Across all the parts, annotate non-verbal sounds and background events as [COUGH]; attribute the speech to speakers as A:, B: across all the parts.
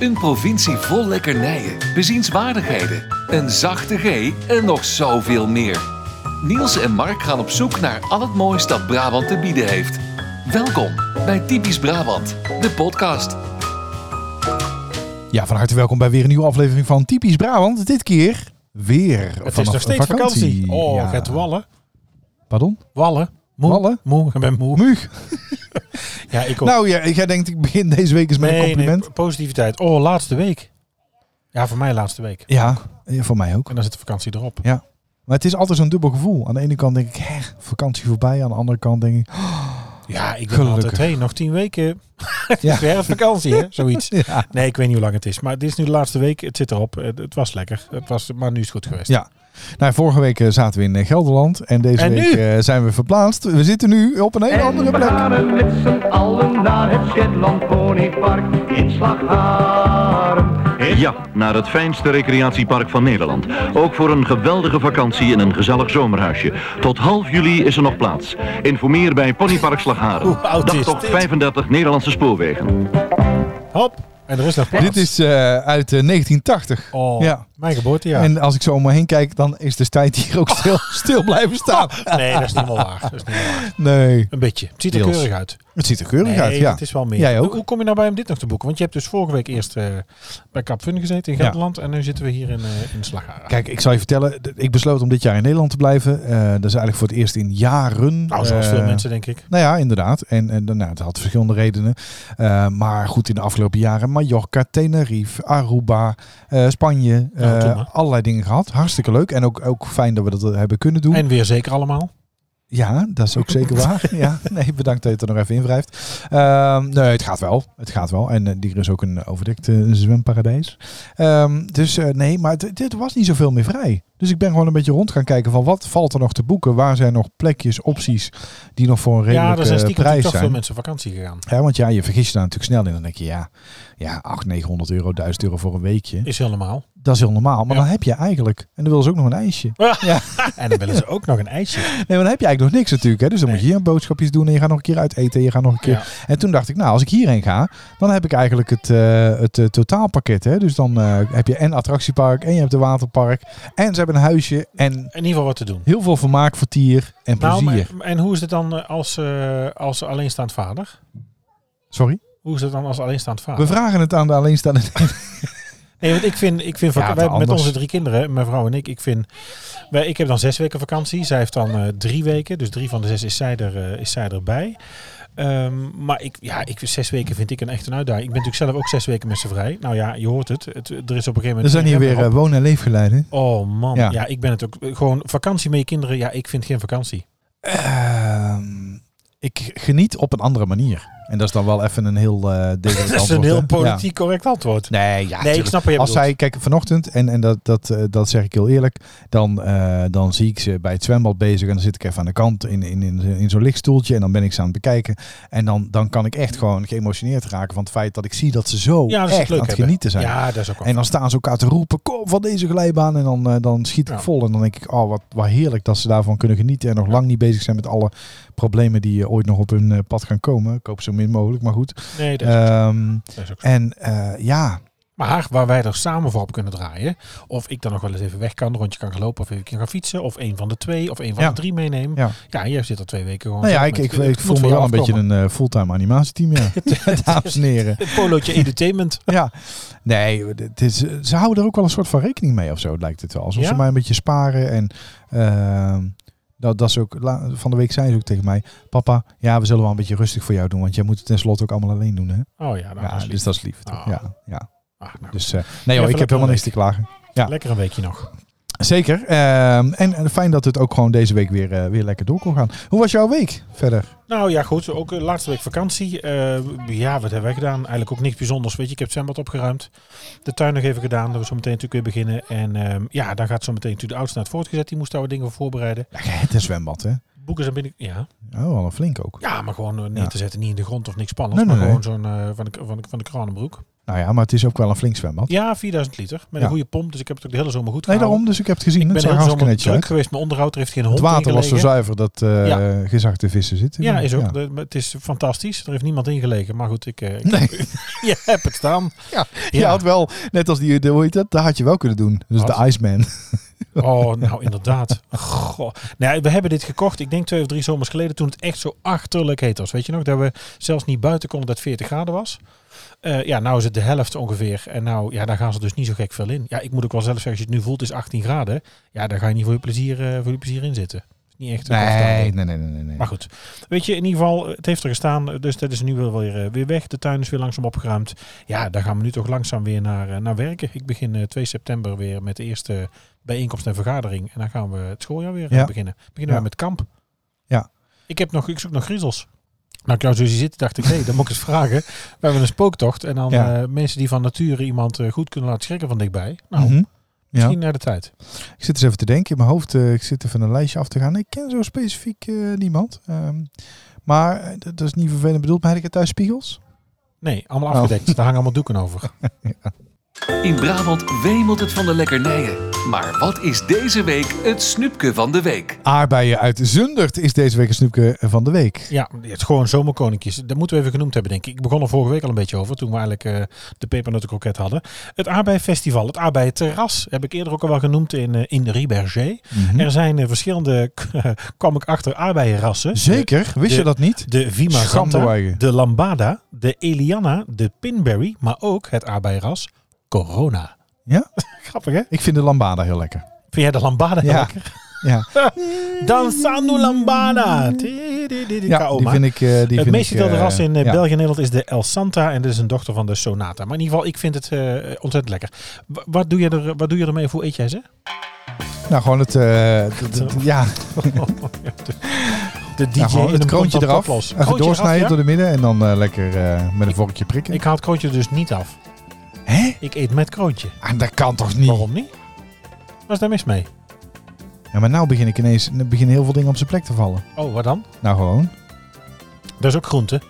A: Een provincie vol lekkernijen, bezienswaardigheden, een zachte G en nog zoveel meer. Niels en Mark gaan op zoek naar al het moois dat Brabant te bieden heeft. Welkom bij Typisch Brabant, de podcast.
B: Ja, van harte welkom bij weer een nieuwe aflevering van Typisch Brabant. Dit keer weer
C: Het is
B: vanaf
C: nog steeds vakantie. Oh,
B: Ja.
C: het wallen.
B: Pardon?
C: Wallen. Moe.
B: Wallen?
C: Moe. Ik ben moe.
B: [LAUGHS] Muug.
C: Ja, ik ook.
B: Nou ja, jij denkt ik begin deze week eens met een
C: Oh. Nee,
B: compliment.
C: nee, positiviteit. Oh, laatste week. Ja, voor mij laatste week.
B: Ja, eh, voor mij ook.
C: En dan zit de vakantie erop.
B: Maar het is altijd zo'n dubbel gevoel. Aan de ene kant denk ik, hè, vakantie voorbij. Aan de andere kant denk ik, [LAUGHS]
C: Ja, ik ben
B: Gelukkig.
C: altijd, hé, nog tien weken. [LAUGHS]
B: Ja.
C: ja. Weer vakantie,
B: [LAUGHS]
C: hè? Zoiets.
B: ja.
C: Nee, ik weet niet hoe lang het is. Maar dit is nu de laatste week. Het zit erop. Het, het was lekker. Het was, maar nu is het goed geweest.
B: Ja. Nou, vorige week eh, zaten we in eh, Gelderland. En deze
C: En
B: week
C: nu?
B: eh, zijn we verplaatst. We zitten nu op een hele andere
D: En we
B: plek.
D: gaan met z'n allen naar het Shetland Ponypark in Slagharen.
E: Ja, naar het fijnste recreatiepark van Nederland. Ook voor een geweldige vakantie in een gezellig zomerhuisje. Tot half juli is er nog plaats. Informeer bij Ponypark Slagharen.
C: Hoe oud is
E: Dagtocht
C: dit?
E: 35 Nederlandse spoorwegen.
C: Hop. En er is nog plaats.
B: Dit is eh, uit eh, 1980.
C: Oh,
B: Ja.
C: mijn geboortejaar.
B: En als ik zo om me heen kijk, dan is de tijd hier
C: [LAUGHS]
B: ook stil, stil blijven staan.
C: Nee, dat is niet helemaal waar. Dat is niet helemaal waar.
B: Nee.
C: Een beetje. Het ziet er
B: Deels.
C: keurig uit.
B: Het ziet er keurig
C: Nee,
B: uit, ja.
C: het is wel meer.
B: Jij ook?
C: Hoe, hoe kom je nou bij om dit nog te boeken? Want je hebt dus vorige week eerst eh, bij Kapfun gezeten in
B: Ja.
C: Gelderland. En nu zitten we hier in, eh in Slagharen.
B: Kijk, ik zal je vertellen, d- ik besloot om dit jaar in Nederland te blijven. Eh, dat is eigenlijk voor het eerst in jaren.
C: nou, zoals
B: Eh,
C: veel mensen denk ik.
B: Nou ja, inderdaad. En, en nou, het had verschillende redenen. Eh, maar goed, in de afgelopen jaren Mallorca, Tenerife, Aruba, eh, Spanje.
C: Nou,
B: eh,
C: doe maar.
B: allerlei dingen gehad. Hartstikke leuk. En ook, ook fijn dat we dat hebben kunnen doen.
C: En weer zeker allemaal.
B: Ja, dat is ook
C: [LAUGHS]
B: zeker waar. Ja, nee, bedankt dat je het er nog even in wrijft. Ehm, nee, het gaat wel. Het gaat wel. En eh, hier is ook een overdekt eh, zwemparadijs. Ehm, dus eh, nee, maar het- dit was niet zoveel meer vrij. Dus ik ben gewoon een beetje rond gaan kijken van wat valt er nog te boeken? Waar zijn nog plekjes, opties die nog voor een
C: Ja,
B: redelijke
C: er zijn
B: eh,
C: stiekem natuurlijk
B: prijs
C: toch veel
B: zijn?
C: mensen op vakantie gegaan.
B: Ja, want ja, je vergis je daar natuurlijk snel in. Dan denk je, ja, ja 800, 900 euro, 1000 euro voor een weekje.
C: Is heel normaal.
B: Dat is heel normaal. Maar
C: Ja.
B: dan heb je eigenlijk, en dan willen ze ook nog een ijsje.
C: en dan willen ze ook nog een ijsje.
B: Nee, maar dan heb je eigenlijk nog niks natuurlijk. Hè? Dus dan moet je hier boodschapjes doen en je gaat nog een keer uit eten. en Je gaat nog een keer.
C: Ja.
B: En toen dacht ik, nou, als ik hierheen ga, dan heb ik eigenlijk het, eh, het eh, totaalpakket. Hè? Dus dan eh, heb je en attractiepark en je hebt een waterpark. En ze hebben een huisje en
C: In ieder geval wat te doen.
B: heel veel vermaak, vertier en
C: Nou,
B: plezier.
C: maar- en hoe is het dan eh, als, eh, als alleenstaand vader?
B: Sorry?
C: Hoe is het dan als alleenstaand vader?
B: We vragen het aan de alleenstaande.
C: Nee, want ik vind, ik vind
B: Ja,
C: vak-
B: te
C: wij, met
B: anders.
C: onze drie kinderen, mijn vrouw en ik, ik vind, wij, ik heb dan zes weken vakantie. Zij heeft dan eh, drie weken, dus drie van de zes is zij, er, eh, is zij erbij. Ehm, maar ik, ja, ik, zes weken vind ik een echt een uitdaging. Ik ben natuurlijk zelf ook zes weken met z'n vrij. Nou ja, je hoort het. het er is op een gegeven moment.
B: Er zijn hier
C: een
B: weer
C: rem
B: eh,
C: erop.
B: woon- en leefgeleiden.
C: Oh man,
B: Ja.
C: ja. ik ben het ook. Gewoon vakantie met je kinderen, ja, ik vind geen vakantie.
B: Ehm, ik geniet op een andere manier. En dat is dan wel even een heel eh
C: [LAUGHS] Dat is een heel politiek correct antwoord.
B: Nee, ja,
C: Nee, ik
B: tuurlijk.
C: snap wat je
B: Als
C: bedoelt.
B: zij, kijk, vanochtend, en, en dat, dat, eh, dat zeg ik heel eerlijk, dan, eh, dan zie ik ze bij het zwembad bezig en dan zit ik even aan de kant in, in, in, in zo'n lichtstoeltje en dan ben ik ze aan het bekijken. En dan, dan kan ik echt gewoon geëmotioneerd raken van het feit dat ik zie dat ze zo
C: Ja, dat is
B: echt
C: het
B: aan
C: leuk
B: het
C: hebben.
B: genieten zijn.
C: Ja, dat is ook wel.
B: En dan staan ze elkaar te roepen, kom van deze glijbaan. En dan, eh, dan schiet ik
C: Ja.
B: vol. En dan denk ik, oh wat, wat heerlijk dat ze daarvan kunnen genieten. En nog lang niet bezig zijn met alle problemen die eh, ooit nog op hun eh, pad gaan komen. Ik hoop zo min mogelijk, maar goed.
C: nee, dat is,
B: Ehm,
C: dat is ook zo.
B: en eh, ja,
C: Maar waar wij er samen voor op kunnen draaien. Of ik dan nog wel eens even weg kan, een rondje kan gaan lopen of even kan gaan fietsen. Of een van de twee of een van
B: Ja.
C: de drie meenemen.
B: Ja.
C: Ja, jij zit al twee weken gewoon.
B: Nou ja,
C: zelf
B: ik,
C: met-
B: ik,
C: het
B: ik
C: moet
B: voel me
C: van
B: wel
C: jou
B: een beetje
C: afkomen.
B: een eh, fulltime animatieteam,
C: [LAUGHS]
B: ja. [LAUGHS] Dames en heren.
C: Het polootje edutainment.
B: Ja, nee, het is, eh, ze houden er ook wel een soort van rekening mee of zo, lijkt het wel. Alsof
C: Ja?
B: ze mij een beetje sparen en ehm, dat, dat is ook, la- van de week zei ze ook tegen mij, papa, ja, we zullen wel een beetje rustig voor jou doen, want jij moet het tenslotte ook allemaal alleen doen, hè.
C: Oh ja, nou,
B: ja,
C: dat is lief.
B: dus dat is lief, toch?
C: Ah.
B: Ja, ja.
C: Ah, nou,
B: Dus eh, nee joh,
C: Even
B: ik heb
C: lekker
B: helemaal niks
C: week.
B: te klagen. ja.
C: Lekker een weekje nog.
B: Zeker. ehm, en, en fijn dat het ook gewoon deze week weer, eh, weer lekker door kon gaan. Hoe was jouw week verder?
C: Nou ja, goed. Ook eh, laatste week vakantie. Eh, ja, wat hebben wij gedaan? Eigenlijk ook niks bijzonders. Weet je, ik heb het zwembad opgeruimd. De tuin nog even gedaan. Dat we zo meteen natuurlijk weer beginnen. En ehm, ja, dan gaat zo meteen natuurlijk de oudste naar het voortgezet. Die moest daar wat dingen voor voorbereiden.
B: Ja, het is zwembad, hè?
C: Boeken zijn binnen... Ja.
B: Oh, wel een flink ook.
C: Ja, maar gewoon eh, neer
B: Ja.
C: te zetten, niet in de grond of niks spannends.
B: Nee, nee,
C: maar gewoon zo'n eh, van, de, van, de, van de kranenbroek.
B: Nou ja, maar het is ook wel een flink zwembad.
C: Ja, 4000 liter. Met
B: Ja.
C: een goede pomp. Dus ik heb het ook de hele zomer goed
B: Nee,
C: gehouden.
B: daarom, dus ik heb het gezien.
C: Ik
B: het
C: ben
B: zag
C: heel
B: er
C: de zomer
B: hartstikke
C: druk
B: netjes uit.
C: geweest. Mijn onderhoud heeft geen hond
B: Het water was zo
C: ingelegen.
B: zuiver dat eh gezakte vissen zitten.
C: Ja, is ook. De- maar het is fantastisch. Er heeft niemand ingelegen. Maar goed, ik, eh, [LAUGHS] ik-
B: [LAUGHS] Nee,
C: je hebt het staan.
B: ja, je had wel, net als die, de, hoe heet dat, daar had je wel kunnen doen. Dus
C: Wat?
B: de Iceman.
C: Oh, nou inderdaad. Goh. Nou, ja, we hebben dit gekocht, ik denk twee of drie zomers geleden, toen het echt zo achterlijk heet was. Weet je nog, dat we zelfs niet buiten konden dat het 40 graden was. Eh, ja, nou is het de helft ongeveer. En nou, ja, daar gaan ze dus niet zo gek veel in. Ja, ik moet ook wel zelf zeggen, als je het nu voelt, is 18 graden. Ja, daar ga je niet voor je plezier, eh, voor je plezier in zitten. Is Niet echt. een afdaling.
B: nee, nee, nee. nee.
C: Maar goed, weet je, in ieder geval, het heeft er gestaan. Dus dat is nu wel weer, eh, weer weg. De tuin is weer langzaam opgeruimd. Ja, daar gaan we nu toch langzaam weer naar, eh, naar werken. Ik begin eh, 2 september weer met de eerste bijeenkomst en vergadering. En dan gaan we het schooljaar weer eh,
B: Ja.
C: beginnen. Beginnen
B: Ja.
C: we met kamp.
B: Ja.
C: Ik, heb nog, ik zoek nog griezels. Nou, ik jou zo zie zitten, dacht ik, nee, dan moet ik eens [LAUGHS] vragen. We hebben een spooktocht. En dan
B: Ja.
C: eh, mensen die van nature iemand eh, goed kunnen laten schrikken van dichtbij. Nou,
B: Mhm. Ja.
C: misschien naar de tijd.
B: Ik zit eens even te denken in mijn hoofd. eh, ik zit even een lijstje af te gaan. Ik ken zo specifiek eh, niemand. Ehm, maar eh, dat dat is niet vervelend bedoeld. Maar heb ik het thuis spiegels?
C: Nee, allemaal
B: Oh.
C: afgedekt. Daar hangen allemaal doeken
B: [LAUGHS]
C: over.
A: In Brabant wemelt het van de lekkernijen. Maar wat is deze week het snoepje van de week?
B: Aardbeien uit Zundert is deze week een snoepje van de week.
C: Ja, het is gewoon zomerkoninkjes. Dat moeten we even genoemd hebben, denk ik. Ik begon er vorige week al een beetje over, toen we eigenlijk eh, de pepernotenkroket hadden. Het aardbeienfestival, het aardbeienterras, heb ik eerder ook al wel genoemd in, eh, in Riberger.
B: Mhm.
C: Er zijn eh, verschillende, [LAUGHS] kwam ik achter, aardbeienrassen.
B: Zeker, wist
C: de-
B: je dat niet?
C: De Vima Santa,
B: Schandewaaien.
C: de Lambada, de Eliana, de Pinberry, maar ook het aardbeienras Corona.
B: Ja?
C: Grappig, hè?
B: Ik vind de lambada heel lekker.
C: Vind jij de Lambada
B: Ja.
C: lekker? [LAUGHS]
B: Ja,
C: Danzando Lambada. Di- di- di- di-
B: ja
C: Kaoma.
B: die vind ik... eh, die vind
C: het meest
B: ik, eh,
C: vertelde ras in eh,
B: ja.
C: België en Nederland is de El Santa. En dit is een dochter van de Sonata. Maar in ieder geval, ik vind het eh, ontzettend lekker. Wa- wat, doe je er, wat doe je ermee of hoe eet jij ze?
B: Nou, gewoon het... eh,
C: [LAUGHS]
B: d- d- d- ja,
C: de, de DJ
B: nou, gewoon
C: in
B: het
C: een
B: kroontje
C: pot van
B: eraf.
C: poplos.
B: Even
C: Kroontje eraf,
B: doorsnijden
C: ja?
B: door de midden en dan eh, lekker eh, met een vorkje prikken.
C: Ik haal het kroontje dus niet af.
B: Hè?
C: Ik eet met kroontje.
B: Ah, dat kan toch niet?
C: Waarom niet? Wat is daar mis mee?
B: Ja, maar nou begin ik ineens... nu beginnen heel veel dingen op zijn plek te vallen.
C: Oh, wat dan?
B: Nou, gewoon.
C: Dat is ook groente.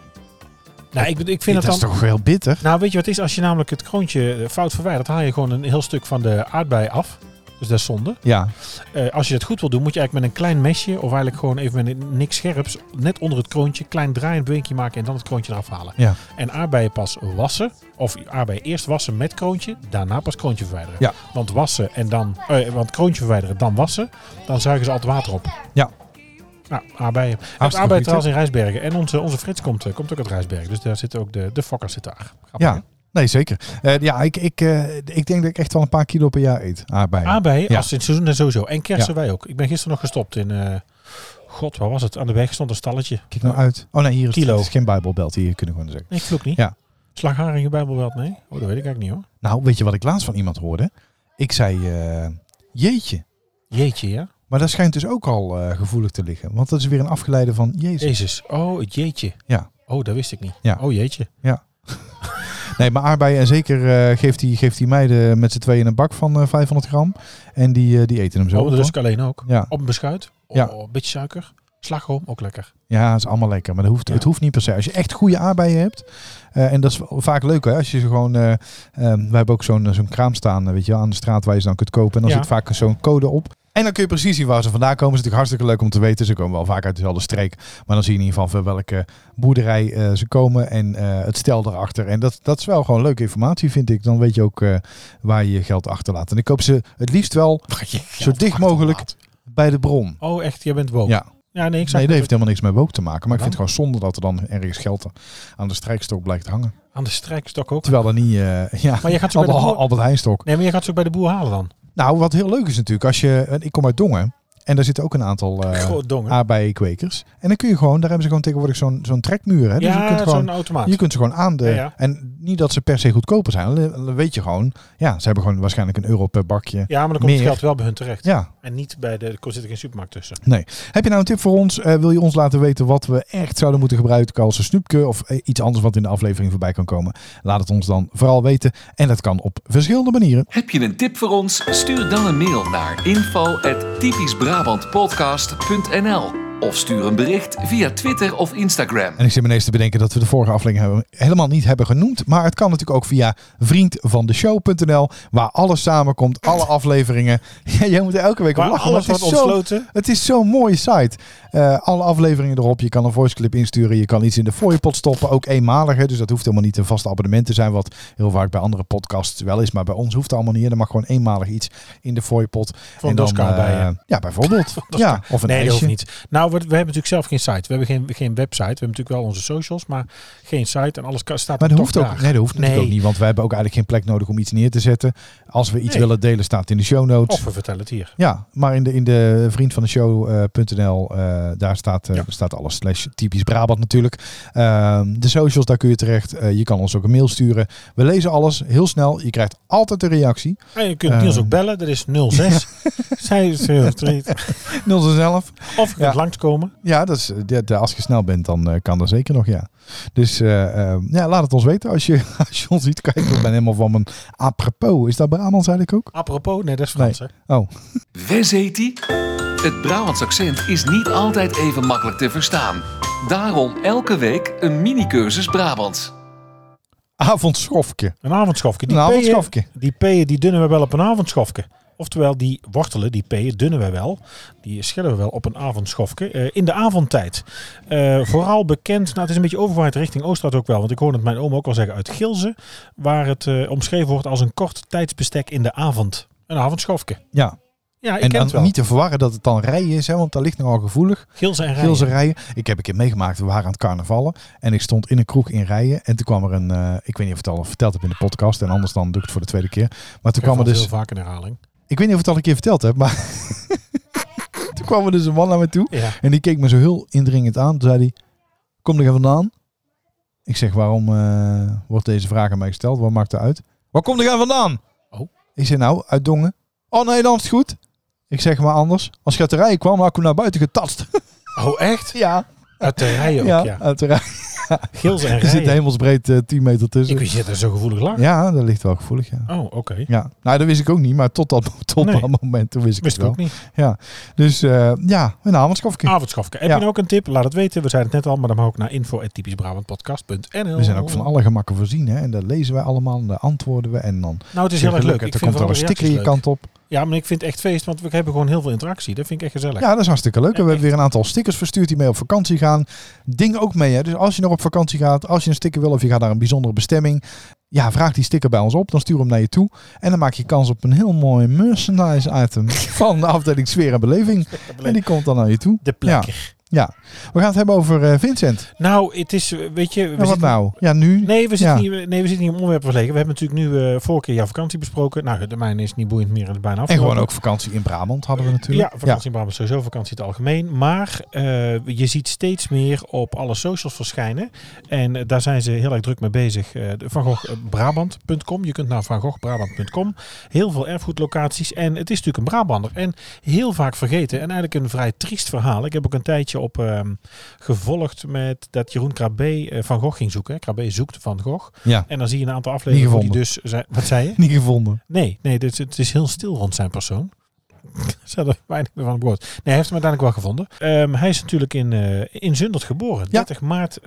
C: Nou, ik, ik vind
B: Dit
C: het
B: is
C: dan...
B: toch heel bitter?
C: Nou, weet je wat het is? Als je namelijk het kroontje eh, fout verwijdert, haal je gewoon een heel stuk van de aardbei af. Dus dat is zonde.
B: Ja.
C: Eh, als je dat goed wil doen, moet je eigenlijk met een klein mesje of eigenlijk gewoon even met een- niks scherps, net onder het kroontje, klein draaiend beweging maken en dan het kroontje eraf halen.
B: Ja.
C: En aardbeien pas wassen, of aardbeien eerst wassen met kroontje, daarna pas kroontje verwijderen.
B: Ja.
C: Want wassen en dan, eh, want kroontje verwijderen, dan wassen, dan zuigen ze al het water op.
B: Ja.
C: Nou, aardbeien. Het
B: goed,
C: aardbeien trouwens in Rijsbergen. En onze, onze Frits komt, eh, komt ook uit Rijsbergen, dus daar zitten ook de, de fokkers zitten daar. Grappig, hè?
B: Ja. Nee, zeker. Eh, ja, ik, ik, eh, ik denk dat ik echt wel een paar kilo per jaar eet. Ah, Aardbeien.
C: Aardbeien,
B: Ja.
C: als in het seizoen en sowieso. En kersen wij ook. Ik ben gisteren nog gestopt in... eh, God, waar was het? Aan de weg stond een stalletje.
B: Kijk nou uit. Oh nee, hier is,
C: Kilo.
B: het is geen bijbelbelt. Hier kunnen we gewoon zeggen.
C: Nee, vloek niet.
B: Ja.
C: Slagharen in je Bijbel wel mee? Oh, dat weet ik eigenlijk niet hoor.
B: Nou, weet je wat ik laatst van iemand hoorde? Ik zei, eh, jeetje.
C: Jeetje, ja?
B: Maar dat schijnt dus ook al eh, gevoelig te liggen. Want dat is weer een afgeleide van Jezus.
C: Jezus. Oh, het jeetje.
B: Ja.
C: Oh, dat wist ik niet.
B: Ja.
C: Oh, jeetje.
B: Nee, maar aardbeien en zeker eh, geeft die, geeft die meiden met z'n tweeën een bak van eh, 500 gram. En die, eh, die eten hem zo.
C: oh,
B: op,
C: dat lust
B: hoor.
C: ik alleen ook.
B: Ja.
C: Op een beschuit. Oh,
B: Ja.
C: een beetje suiker. Slagroom, ook
B: [LAUGHS]
C: lekker.
B: Ja, dat is allemaal lekker. Maar dat hoeft,
C: Ja.
B: het hoeft niet per se. Als je echt goede aardbeien hebt. eh, en dat is wel vaak leuk hè. Als je ze gewoon. eh, ehm, we hebben ook zo'n zo'n kraam staan. eh, Weet je, wel, aan de straat waar je ze dan kunt kopen. En dan
C: Ja.
B: zit vaak zo'n code op. En dan kun je precies zien waar ze vandaan komen. Dat is natuurlijk hartstikke leuk om te weten. Ze komen wel vaak uit dezelfde streek. Maar dan zie je in ieder geval van welke boerderij eh, ze komen. En eh, het stel erachter. En dat, dat is wel gewoon leuke informatie, vind ik. Dan weet je ook eh, waar je je geld achterlaat. En ik koop ze het liefst wel
C: Zo
B: dicht mogelijk. bij de bron.
C: Oh, echt? Jij bent woke. Ja,
B: Ja,
C: nee, ik zag
B: Nee,
C: het
B: dat heeft helemaal niks met woke te maken. Maar ik
C: Dan?
B: vind het gewoon zonde dat er dan ergens geld aan de strijkstok blijkt hangen.
C: aan de strijkstok ook.
B: Terwijl er niet... eh, [LAUGHS] ja,
C: Maar je gaat ze ook bij
B: Albert,
C: de boer...
B: Albert Heijnstok.
C: Nee, maar je gaat ze ook bij de boer halen dan.
B: Nou, wat heel leuk is natuurlijk. Als je, eh, ik kom uit Dongen. En daar zitten ook een
C: [LAUGHS]
B: aantal eh
C: Groot dongen.
B: aardbeienkwekers. En dan kun je gewoon... Daar hebben ze gewoon tegenwoordig zo'n zo'n trekmuur. Hè? Dus je
C: ja,
B: kunt gewoon...
C: zo'n automaat.
B: Je kunt ze gewoon aan de...
C: Ja, ja.
B: En niet dat ze per se goedkoper zijn. alleen- Dan weet je gewoon... Ja, ze hebben gewoon waarschijnlijk een euro per bakje.
C: Ja, maar dan komt het
B: Meer.
C: geld wel bij hun terecht.
B: Ja,
C: En niet bij de... Er zit geen supermarkt tussen.
B: Nee. Heb je nou een tip voor ons? Eh, wil je ons laten weten wat we echt zouden moeten gebruiken als een snoepje of eh, iets anders wat in de aflevering voorbij kan komen? Laat het ons dan vooral weten. En dat kan op verschillende manieren.
A: Heb je een tip voor ons? Stuur dan een mail naar info@typischbrabantpodcast.nl of stuur een bericht via Twitter of Instagram.
B: En ik zit me ineens te bedenken dat we de vorige aflevering hebben- helemaal niet hebben genoemd. Maar het kan natuurlijk ook via vriendvandeshow.nl, waar alles samenkomt, alle afleveringen. [LAUGHS] Ja, jij moet er elke week op
C: Waar
B: lachen.
C: alles
B: want
C: wordt
B: het is zo-
C: ontsloten.
B: Het is zo'n mooie site. Eh, alle afleveringen erop. Je kan een voiceclip insturen. Je kan iets in de fooiepot stoppen. Ook eenmalige. Dus dat hoeft helemaal niet een vast abonnement te zijn. Wat heel vaak bij andere podcasts wel is. Maar bij ons hoeft het allemaal niet. Er mag gewoon eenmalig iets in de fooiepot.
C: Van
B: En dan,
C: Doska
B: eh,
C: bij je.
B: Ja,
C: [LAUGHS]
B: bijvoorbeeld. ja, of een
C: nee, dat
B: ijsje.
C: hoeft niet. Nou, we, we hebben natuurlijk zelf geen site. We hebben geen, geen website. We hebben natuurlijk wel onze socials, maar geen site. En alles ka- staat
B: Maar
C: er
B: dat
C: toch
B: hoeft ook,
C: daar.
B: nee, dat hoeft natuurlijk
C: Nee.
B: ook niet. Want wij hebben ook eigenlijk geen plek nodig om iets neer te zetten. Als we iets
C: Nee. Oh.
B: willen delen, staat het in de show notes.
C: Of we vertellen het hier.
B: Ja, maar in de, in de vriend van de eh, show.nl, daar staat, eh,
C: Ja.
B: staat alles. Slash typisch Brabant natuurlijk. Ehm, de socials, daar kun je terecht. Eh, je kan ons ook een mail sturen. We lezen alles heel snel. Je krijgt altijd een
C: [LAUGHS]
B: reactie.
C: En je kunt
B: Eh.
C: Niels ook bellen. Dat is
B: [LAUGHS]
C: 06. Zij is heel verdriet.
B: zelf.
C: Of je kunt
B: Ja.
C: langskomen.
B: Ja, dat is, de, de- als je snel bent, dan eh, kan dat zeker nog, ja. Dus eh, ehm, ja, laat het ons weten als je, [LAUGHS] als je ons ziet kijken. Ik ben helemaal van mijn apropos. Is dat Brabants eigenlijk ook?
C: Apropos, nee, dat is Frans.
B: Nee.
C: hè.
B: Oh,
A: Wezeti? Het Brabants accent is niet altijd even makkelijk te verstaan. Daarom elke week een mini-cursus Brabants.
B: avondschofje.
C: Een avondschofje. Die
B: Een
C: peeën-
B: avondschofje.
C: Die peeën, die dunnen we wel op een avondschofje. Oftewel, die wortelen, die peeën, dunnen we wel. Die schillen we wel op een avondschofje. eh, in de avondtijd. Eh, vooral bekend, nou het is een beetje overgewaaid richting Oostraat ook wel. Want ik hoorde het mijn oom ook al zeggen uit Gilze. Waar het eh, omschreven wordt als een kort tijdsbestek in de avond. Een avondschofje.
B: Ja,
C: Ja, ik
B: en
C: ken het wel.
B: dan niet te verwarren dat het dan rijden is, hè, want dat ligt nogal gevoelig.
C: Gilze en Rijen.
B: Gilse rijen. Ik heb een keer meegemaakt, we waren aan het carnavallen. En ik stond in een kroeg in rijen. En toen kwam er een, eh, ik weet niet of ik het al verteld heb in de podcast. En anders dan doe ik het voor de tweede keer. Maar toen kwam er
C: Ik vond het
B: dus,
C: heel vaak in herhaling.
B: ik weet niet of ik het al een keer verteld heb. Maar [LAUGHS] toen kwam er dus een man naar me toe.
C: Ja.
B: En die keek me zo heel indringend aan. Toen zei hij, kom er even vandaan. Ik zeg, waarom eh, wordt deze vraag aan mij gesteld? Wat maakt er uit? Waar kom er vandaan?
C: Oh.
B: Ik zeg, nou, uit Dongen. Oh nee, dan is het goed. Ik zeg maar anders. Als je uit de rijen kwam, had ik hem naar buiten getast.
C: Oh, echt?
B: [LAUGHS] ja,
C: Uit de rijen ook, ja.
B: ja, uit de rijen.
C: Gilze
B: [LAUGHS]
C: en
B: Er zit
C: Rijen.
B: hemelsbreed eh, 10 meter tussen.
C: Ik wist dat er zo gevoelig lag.
B: ja, dat ligt wel gevoelig, ja.
C: Oh, oké.
B: Ja, nou dat wist ik ook niet, maar tot dat, [LAUGHS] tot
C: Nee.
B: dat moment toen wist ik
C: Wist ik
B: het wel.
C: ook niet.
B: Dus eh, ja, een avondschafje.
C: Avondschafke. Heb
B: Ja.
C: je nou ook een tip? Laat het weten. We zeiden het net al, maar dan mag ook naar info.typischbrabantpodcast.nl.
B: We zijn ook van alle gemakken voorzien hè. En dat lezen wij allemaal en daar antwoorden we. En dan
C: Nou, het is heel erg leuk. Ik
B: Er
C: vind
B: komt er een
C: vooral de
B: sticker in je
C: reacties
B: kant op.
C: leuk. Ja, maar ik vind het echt feest, want we hebben gewoon heel veel interactie. Dat vind ik echt gezellig.
B: Ja, dat is hartstikke leuk. En we
C: Ja,
B: hebben weer een aantal stickers verstuurd die mee op vakantie gaan. Dingen ook mee hè. Dus als je nog op vakantie gaat, als je een sticker wil of je gaat naar een bijzondere bestemming. Ja, vraag die sticker bij ons op. Dan stuur hem naar je toe. En dan maak je kans op een heel mooi merchandise item van de afdeling sfeer en beleving. En die komt dan naar je toe.
C: De plekker.
B: Ja, we gaan het hebben over eh, Vincent.
C: Nou, het is, eh, weet je... We
B: En wat
C: zitten-
B: nou? Ja, nu.
C: Nee, we
B: Ja.
C: zitten, niet, nee, we zitten niet om onderwerpen verlegen. We hebben natuurlijk nu eh vorige keer jouw vakantie besproken. Nou, de mijne is niet boeiend meer en het is bijna
B: en
C: afgelopen.
B: gewoon ook vakantie in Brabant hadden we
C: Ja,
B: natuurlijk.
C: vakantie in Brabant sowieso, vakantie in het algemeen. Maar eh, je ziet steeds meer op alle socials verschijnen. En eh, daar zijn ze heel erg druk mee bezig. Eh, de Van Gogh eh, Brabant.com. Je kunt naar Van Gogh Brabant.com. Heel veel erfgoedlocaties. En het is natuurlijk een Brabander. En heel vaak vergeten. En eigenlijk een vrij triest verhaal. Ik heb ook een tijdje op ehm, gevolgd met dat Jeroen Krabbe eh, Van Gogh ging zoeken. hè. Krabbe zoekt Van Gogh.
B: Ja.
C: En dan zie je een aantal afleveringen die
B: gevonden.
C: dus... Zijn, wat zei je?
B: Niet gevonden.
C: Nee, nee dus het is heel stil rond zijn persoon. [LAUGHS] Ze hadden weinig meer van gehoord. Nee, hij heeft hem uiteindelijk wel gevonden. Ehm, hij is natuurlijk in, eh, in Zundert geboren. 30 maart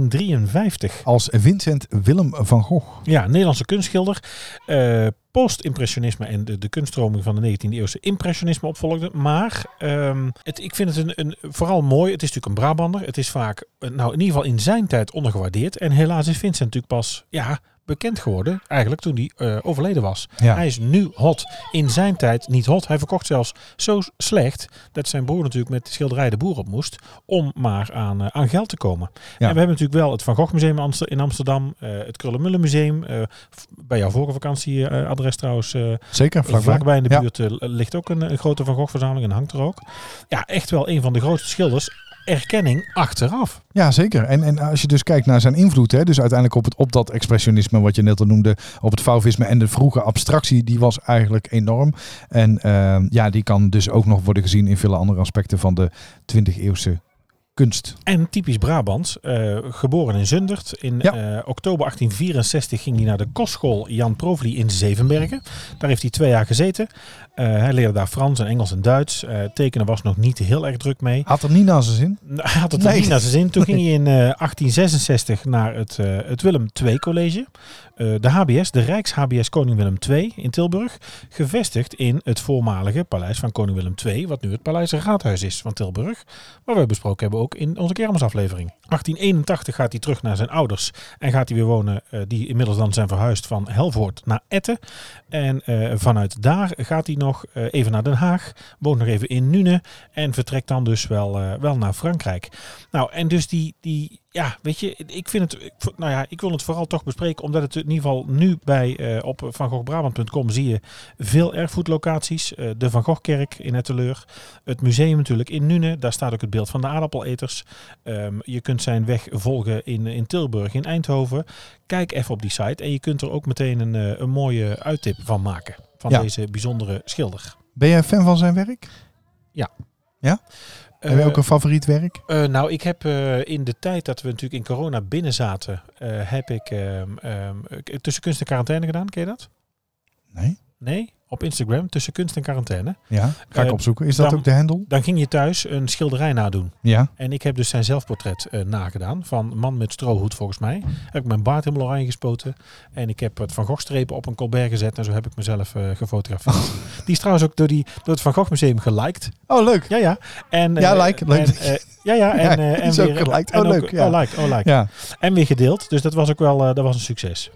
C: 1853.
B: Als Vincent Willem van Gogh.
C: Ja, Nederlandse kunstschilder. Eh, Post-impressionisme en de, de kunststroming van de 19e eeuwse impressionisme opvolgde. Maar ehm, het, ik vind het een, een, vooral mooi. Het is natuurlijk een Brabander. Het is vaak, eh, nou in ieder geval in zijn tijd, ondergewaardeerd. En helaas is Vincent natuurlijk pas ja, bekend geworden. Eigenlijk toen hij eh, overleden was.
B: Ja.
C: Hij is nu hot. In zijn tijd niet hot. Hij verkocht zelfs zo slecht dat zijn broer natuurlijk met de schilderij de boer op moest. Om maar aan, eh, aan geld te komen. En we hebben natuurlijk wel het Van Gogh Museum Amster- in Amsterdam. eh, het Krullenmullen Museum. eh, f- bij jouw vorige vakantieadres trouwens. eh,
B: Zeker, vlakbij.
C: Vlakbij in de
B: Ja.
C: buurt eh, ligt ook een, een grote Van Gogh verzameling en hangt er ook. Ja, echt wel een van de grootste schilders. Erkenning achteraf.
B: Ja, zeker. En, en als je dus kijkt naar zijn invloed, hè, dus uiteindelijk op, het, op dat expressionisme wat je net al noemde, op het fauvisme en de vroege abstractie, die was eigenlijk enorm. En ehm, ja, die kan dus ook nog worden gezien in vele andere aspecten van de 20e eeuwse kunst.
C: En typisch Brabants, eh, geboren in Zundert. In
B: Ja.
C: eh, oktober 1864 ging hij naar de kostschool Jan Provli in Zevenbergen. Daar heeft hij twee jaar gezeten. Eh, hij leerde daar Frans en Engels en Duits. Eh, tekenen was nog niet heel erg druk mee.
B: Had er niet naar zijn zin.
C: Nou, Hij had het er
B: Nee.
C: niet naar zijn zin. Toen ging hij in eh, 1866 naar het, eh, het Willem II College. eh, de HBS, de Rijks-HBS Koning Willem II in Tilburg. Gevestigd in het voormalige paleis van Koning Willem II. Wat nu het Paleis Raadhuis is van Tilburg. Waar we besproken hebben ook in onze kermisaflevering. 1881 gaat hij terug naar zijn ouders. En gaat hij weer wonen, eh, die inmiddels dan zijn verhuisd van Helvoort naar Etten. En eh, vanuit daar gaat hij nog eh, even naar Den Haag. Woont nog even in Nune. En vertrekt dan dus wel, eh, wel naar Frankrijk. Nou, en dus die, die, ja, weet je, ik vind het, ik vo- nou ja, ik wil het vooral toch bespreken, omdat het in ieder geval nu bij eh, op vangochbrabant.com zie je veel erfgoedlocaties. Eh, de Van Goghkerk in Etteleur, het museum natuurlijk in Nune, daar staat ook het beeld van de aardappeleters. Ehm, je kunt zijn weg volgen in, in Tilburg, in Eindhoven. Kijk even op die site en je kunt er ook meteen een, eh, een mooie uittip van maken, van
B: Ja.
C: deze bijzondere schilder.
B: Ben jij fan van zijn werk? Heb
C: Eh,
B: je ook een favoriet werk?
C: Eh, nou, ik heb eh, in de tijd dat we natuurlijk in corona binnen zaten, eh, heb ik ehm, ehm, eh, tussen kunst en quarantaine gedaan. Ken je dat?
B: Nee.
C: Nee? Op Instagram, tussen kunst en quarantaine.
B: Ja, ga ik
C: Eh,
B: opzoeken. Is dat
C: dan-
B: ook de hendel?
C: Dan ging je thuis een schilderij nadoen.
B: Ja.
C: En ik heb dus zijn zelfportret eh, nagedaan van man met strohoed volgens mij. Heb ik mijn baard helemaal oranje gespoten. En ik heb het Van Gogh strepen op een colbert gezet. En zo heb ik mezelf eh, gefotografeerd.
B: [LAUGHS]
C: Die is trouwens ook door, die, door het Van Gogh Museum geliked.
B: Oh, leuk.
C: Ja, ja. En,
B: Ja,
C: eh,
B: like, leuk
C: en,
B: dat je-
C: eh, ja, ja.
B: [LAUGHS]
C: En,
B: Ja,
C: eh,
B: die
C: en
B: is ook
C: weer,
B: geliked.
C: en
B: Oh, leuk, ja.
C: Oh, like, oh, like.
B: Ja.
C: En weer gedeeld. Dus dat was ook wel eh, dat was een succes.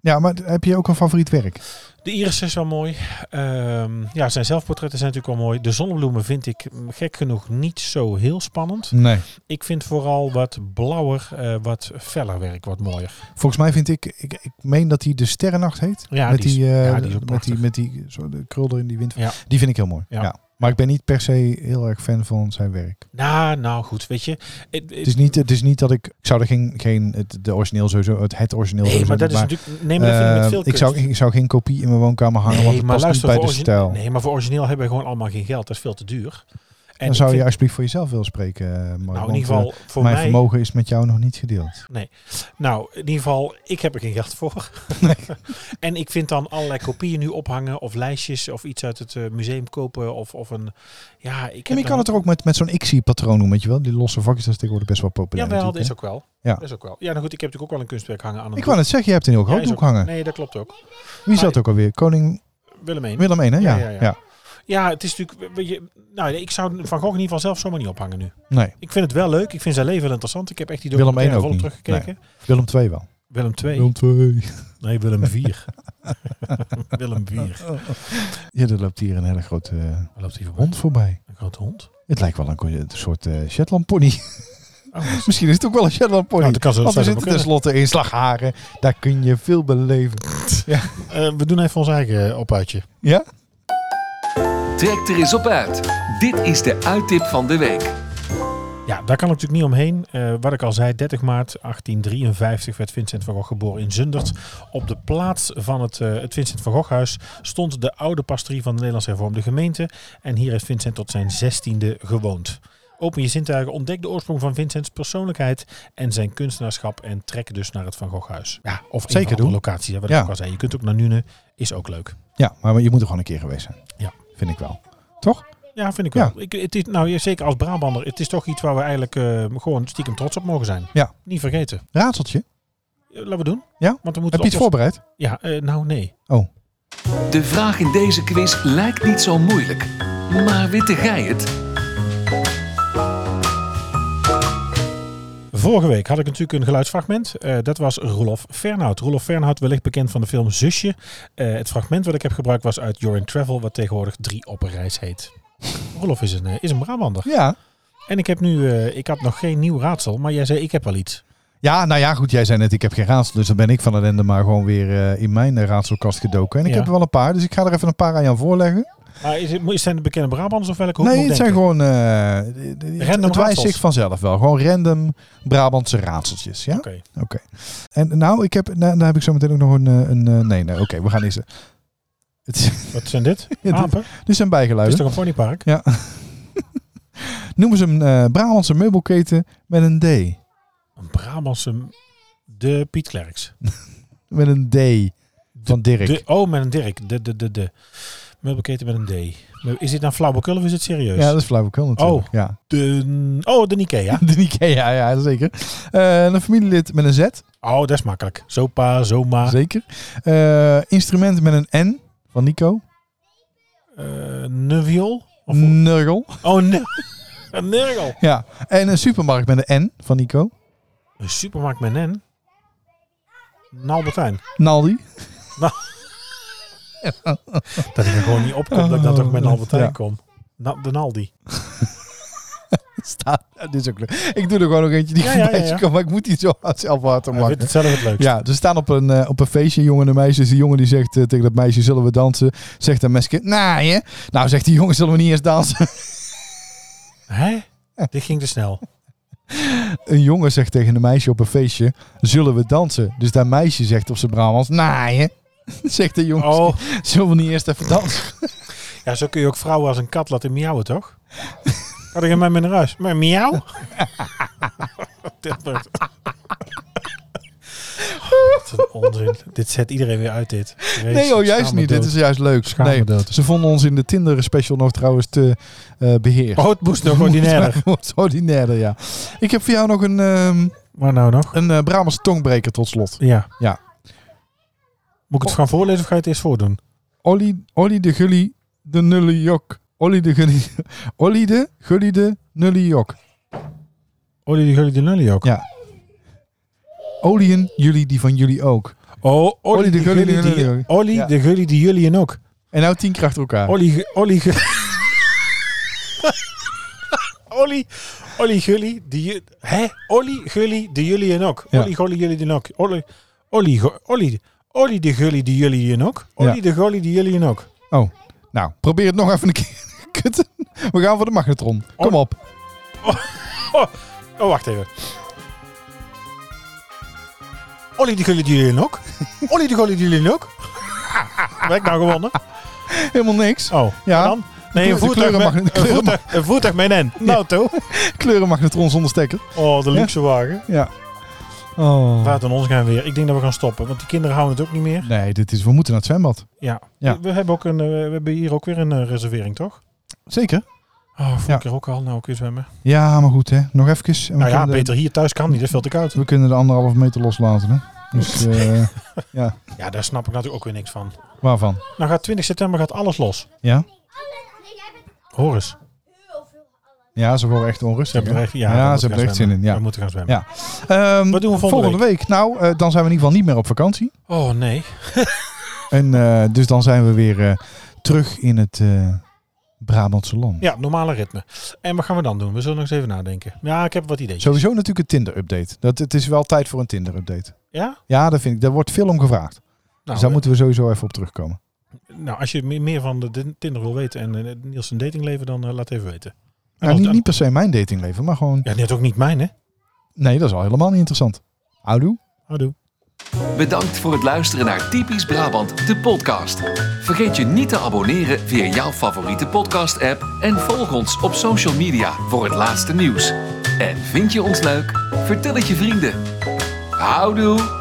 B: ja, maar heb je ook een favoriet werk?
C: De iris is wel mooi. Ehm, ja, zijn zelfportretten zijn natuurlijk wel mooi. De zonnebloemen vind ik mm, gek genoeg niet zo heel spannend.
B: Nee.
C: Ik vind vooral wat blauwer, eh, wat feller werk wat mooier.
B: Volgens mij vind ik, ik, ik meen dat hij de Sterrennacht heet.
C: Ja,
B: met
C: die is-
B: die, eh,
C: ja, die is ook
B: met die,
C: prachtig.
B: met die zo, de krul er in die wind.
C: Ja.
B: Die vind ik heel mooi. Ja.
C: Ja.
B: Maar ik ben niet per se heel erg fan van zijn werk.
C: Nou, nou goed, weet je. Het,
B: eh, Het is niet, het is niet dat ik, ik zou er geen, geen het, de origineel sowieso, het, het origineel
C: nee,
B: sowieso
C: maar dat
B: niet,
C: is natuurlijk. Nee, maar dat vind ik met
B: eh,
C: veel
B: ik, zou,
C: kunst.
B: ik zou geen kopie in mijn woonkamer hangen, want
C: nee,
B: het
C: maar
B: past niet
C: luister,
B: bij
C: voor
B: de stijl.
C: origineel, nee, maar voor origineel hebben we gewoon allemaal geen geld. Dat is veel te duur. En
B: Dan
C: ik
B: zou je
C: vind-
B: alsjeblieft voor jezelf willen spreken, eh, Mark,
C: nou,
B: want,
C: in ieder geval,
B: eh,
C: voor
B: mijn
C: mij,
B: vermogen is met jou nog niet gedeeld.
C: Nou, in ieder geval, ik heb er geen geld voor. [LAUGHS] en ik vind dan allerlei kopieën nu ophangen of lijstjes of iets uit het eh, museum kopen of, of een... Ja, ik heb
B: En je
C: dan-
B: kan het er ook met, met zo'n XI-patroon doen, weet je wel? Die losse vakjes, dat is tegenwoordig best wel populair.
C: Jawel, dat
B: natuurlijk, hè?
C: is ook wel.
B: Ja.
C: Ja. Dat is ook wel. Ja, nou goed, ik heb natuurlijk ook wel een kunstwerk hangen aan een
B: Ik wou net zeggen, je hebt een heel
C: doek. Ja,
B: groot
C: is
B: doek
C: ook-
B: hangen.
C: Nee, dat klopt ook.
B: Wie is
C: maar-
B: dat ook alweer? Koning
C: Willem één.
B: Willem I, hè? Ja,
C: Ja,
B: ja,
C: ja, ja. Ja, het is natuurlijk... Weet je, nou, ik zou Van Gogh in ieder geval zelf zomaar niet ophangen nu.
B: Nee,
C: Ik vind het wel leuk. Ik vind zijn leven wel interessant. Ik heb echt die
B: Willem één
C: documentaire
B: ook
C: volop
B: niet.
C: teruggekeken.
B: Willem II wel.
C: Willem 2.
B: Willem II.
C: Nee, Willem
B: [LAUGHS]
C: 4. Willem 4.
B: Ja, er loopt hier een hele grote eh,
C: Waar loopt hij voor
B: hond voorbij.
C: Een grote hond.
B: Het lijkt wel een, ko- een soort eh, Shetland pony.
C: Oh, dat
B: [LAUGHS]
C: is-
B: Misschien is het ook wel een Shetland pony.
C: Nou, dat kan zo
B: Want we
C: zou dat
B: zitten
C: wel kunnen.
B: tenslotte in Slagharen. Daar kun je veel beleven.
C: Eh, we doen even ons eigen opuitje.
B: Ja?
A: Trek er eens op uit. Dit is de uittip van de week.
C: Ja, daar kan ik natuurlijk niet omheen. Eh, wat ik al zei, 30 maart 1853 werd Vincent van Gogh geboren in Zundert. Op de plaats van het, eh, het Vincent van Goghhuis stond de oude pastorie van de Nederlands hervormde gemeente. En hier heeft Vincent tot zijn 16e gewoond. Open je zintuigen, ontdek de oorsprong van Vincents persoonlijkheid en zijn kunstenaarschap en trek dus naar het Van Goghhuis. Ja, of
B: Zeker
C: een van
B: doen.
C: de locaties, hè, wat
B: Ja.
C: ik ook al zei. Je kunt ook naar Nune, is ook leuk.
B: Ja, maar je moet er gewoon een keer geweest zijn.
C: Ja.
B: Vind ik wel. Toch?
C: Ja, vind ik
B: Ja.
C: wel. Ik, het is, nou, ja, zeker als Brabander, het is toch iets waar we eigenlijk eh, gewoon stiekem trots op mogen zijn.
B: Ja.
C: Niet vergeten.
B: Raadseltje.
C: Eh, Laten we doen.
B: Ja?
C: Want we moeten
B: Heb je iets
C: oplossen.
B: voorbereid?
C: Ja, eh, nou nee.
B: Oh.
A: De vraag in deze quiz lijkt niet zo moeilijk. Maar witte gij het?
C: Vorige week had ik natuurlijk een geluidsfragment. Eh, dat was Roelof Fernhout. Roelof Fernhout, wellicht bekend van de film Zusje. Eh, het fragment wat ik heb gebruikt was uit Your in Travel, wat tegenwoordig Drie op een reis heet. Roelof is een, eh, is een Brabander.
B: Ja.
C: En ik heb nu, eh, ik had nog geen nieuw raadsel, maar jij zei ik heb wel iets.
B: Ja, nou ja, goed. Jij zei net, ik heb geen raadsel. Dus dan ben ik van het ende maar gewoon weer eh, in mijn eh, raadselkast gedoken. En ik
C: Ja.
B: heb er wel een paar. Dus ik ga er even een paar aan jou voorleggen.
C: Maar is het, mo- zijn het bekende Brabanders of welke hoek
B: nee,
C: moet
B: het zijn
C: ik denken?
B: gewoon. eh, d- d- het-
C: Random
B: het wijst
C: raadsels.
B: zich vanzelf wel. Gewoon random Brabantse raadseltjes. Ja?
C: Oké.
B: Oké. En nou, ik heb, nou, daar heb ik zo meteen ook nog een. eh, een eh, nee, nee, oké, we gaan eerst. [LAUGHS] Het, is-
C: Wat zijn dit?
B: dit-
C: [LAUGHS] Apen?
B: [LAUGHS] dit zijn
C: Het Ah. is
B: bijgeluiden.
C: toch een ponypark?
B: Ja. Noemen ze hem eh, Brabantse meubelketen met een D.
C: Een Brabantse... De Piet Klerks.
B: Met een D. Van Dirk.
C: De, oh, met een Dirk. De, de, de, de. Meubelketen met een D. Is dit nou flauwekul of is het serieus?
B: ja, dat is flauwekul natuurlijk.
C: Oh.
B: Ja. [LAUGHS]
C: de, oh, de Ikea.
B: De Ikea, ja, zeker. Eh, een familielid met een Z,
C: Oh, dat is makkelijk. Zopa, zoma.
B: zeker. Eh, instrument met een N, van Nico.
C: eh Neviol? Of,
B: Nurgle.
C: oh, ne [LAUGHS] een nergel.
B: Ja. En een supermarkt met een N, van Nico.
C: Een supermarkt met een N. Een Albertijn.
B: Naldi.
C: Dat ik er gewoon niet opkom dat ik dan toch met een
B: Oh,
C: Albertijn
B: ja.
C: kom. Na, de Naldi.
B: [LAUGHS] Staat. Ja, dit is ook leuk. Ik doe er gewoon nog eentje die
C: Ja, ja, ja,
B: voorbij is
C: ja.
B: gekomen, maar ik moet die zo hard zelf hard om
C: Ik vind
B: lachen.
C: het zelf het leukst.
B: Ja, ze staan op een, eh, op een feestje, jongen en meisjes. Die jongen die zegt eh, tegen dat meisje, zullen we dansen? Zegt dat meisje, nou je. Nou, zegt die jongen, zullen we niet eens dansen? [LAUGHS]
C: Hè? Dit ging te snel.
B: Een jongen zegt tegen een meisje op een feestje, zullen we dansen? Dus dat meisje zegt op zijn Brabants, nou je. [LAUGHS] Zegt de jongen,
C: Oh,
B: zullen we niet eerst even dansen?
C: ja, zo kun je ook vrouwen als een kat laten miauwen, toch? Had ik hem met mijn ruis. Maar miauw? Dit wordt- Wat een onzin. Dit zet iedereen weer uit, dit.
B: Nee oh, juist niet. Dit is juist leuk.
C: Schaam me
B: Nee,
C: dood.
B: ze vonden ons in de Tinder special nog trouwens te eh beheerst.
C: Oh, het moest
B: [LAUGHS]
C: nog ordinair.
B: Wordt ordinairder, ja. Ik heb voor jou nog een, ehm
C: Maar nou nog?
B: een eh Brabantse tongbreker tot slot.
C: Ja.
B: Ja. Oh.
C: Moet ik het gaan voorlezen of ga je het eerst voordoen?
B: Olly, Olly de Gully de Nulliok. Olly de [LAUGHS] Gully. Olly de Gully de Nulliok.
C: Oh, die jullie de lully ook.
B: Ja. Olien, jullie die van jullie ook.
C: Oh, Olly de Gully
B: die jullie
C: die
B: ook.
C: Olly
B: Ja.
C: de Gully die jullie en ook.
B: En nou tien keer achter elkaar.
C: Olly Ge- Olly
B: [LAUGHS]
C: Ge- Olly Olly Gully die ju- hè? Olly Gully de jullie en ook.
B: Ja.
C: Olly Gully jullie en ook. Olly Olly Go- Olly Olly de Gully die jullie en ook. Olly
B: Ja.
C: de Gully die jullie en ook.
B: Oh, nou, probeer het nog even een keer. [LAUGHS] Kutten. We gaan voor de magnetron. Kom
C: Oh.
B: op.
C: Oh, oh wacht even. Olly de Gully die jullie en ook. Olly de Gully die jullie en ook. [LAUGHS] Ben ik nou gewonnen?
B: Helemaal niks.
C: Oh,
B: Ja.
C: en dan? Nee,
B: De
C: een voertuig,
B: kleuren
C: met,
B: mag- de
C: een,
B: kleuren
C: voertuig, een voertuig met een N. Nou, toch?
B: Kleurenmagnetron zonder stekker.
C: Oh, de luxe wagen.
B: Ja. Oh.
C: Vaart en ons gaan weer. Ik denk dat we gaan stoppen, want die kinderen houden het ook niet meer.
B: Nee, dit is, we moeten naar het zwembad.
C: Ja.
B: Ja.
C: We, we hebben ook een, eh, we hebben hier ook weer een eh, reservering, toch?
B: Zeker.
C: Oh, vorige
B: Ja.
C: keer ook al. Nou, kun je zwemmen.
B: Ja, maar goed hè. Nog even. En we
C: nou ja,
B: kunnen de-
C: Peter, hier thuis kan niet. Dat is veel te koud.
B: Dus We kunnen de anderhalve meter loslaten hè. Dus eh,
C: Ja, daar snap ik natuurlijk ook weer niks van.
B: waarvan?
C: Nou gaat 20 september gaat alles los.
B: Ja?
C: Hoor eens.
B: Ja, ze worden echt
C: Ze
B: onrustig.
C: hebben er echt,
B: hè? ja,
C: ja, we moeten
B: ze hebben
C: gaan
B: er echt zin in.
C: zwemmen.
B: Ja.
C: We moeten gaan zwemmen.
B: Ja. Ehm,
C: Wat doen we volgende
B: week? Nou, eh, dan zijn we in ieder geval niet meer op vakantie.
C: Oh, nee.
B: En eh, dus dan zijn we weer eh, terug in het eh, Brabantse land.
C: Ja, normale ritme. En wat gaan we dan doen? We zullen nog eens even nadenken. Ja, ik heb wat ideeën.
B: Sowieso natuurlijk een Tinder-update. Dat, het is wel tijd voor een Tinder-update.
C: Ja?
B: Ja, dat vind ik. Daar wordt veel om gevraagd.
C: Nou,
B: dus daar moeten we sowieso even op terugkomen.
C: Nou, als je me- meer van de- de Tinder wil weten en eh, Niels zijn datingleven, dan eh, laat even weten.
B: Nou,
C: als-
B: niet, niet per se mijn datingleven, maar gewoon...
C: Ja, net ook niet mijn, hè?
B: Nee, dat is al helemaal niet interessant. Houdoe.
C: Houdoe.
A: Bedankt voor het luisteren naar Typisch Brabant, de podcast. Vergeet je niet te abonneren via jouw favoriete podcast-app en volg ons op social media voor het laatste nieuws. En vind je ons leuk? Vertel het je vrienden. Houdoe!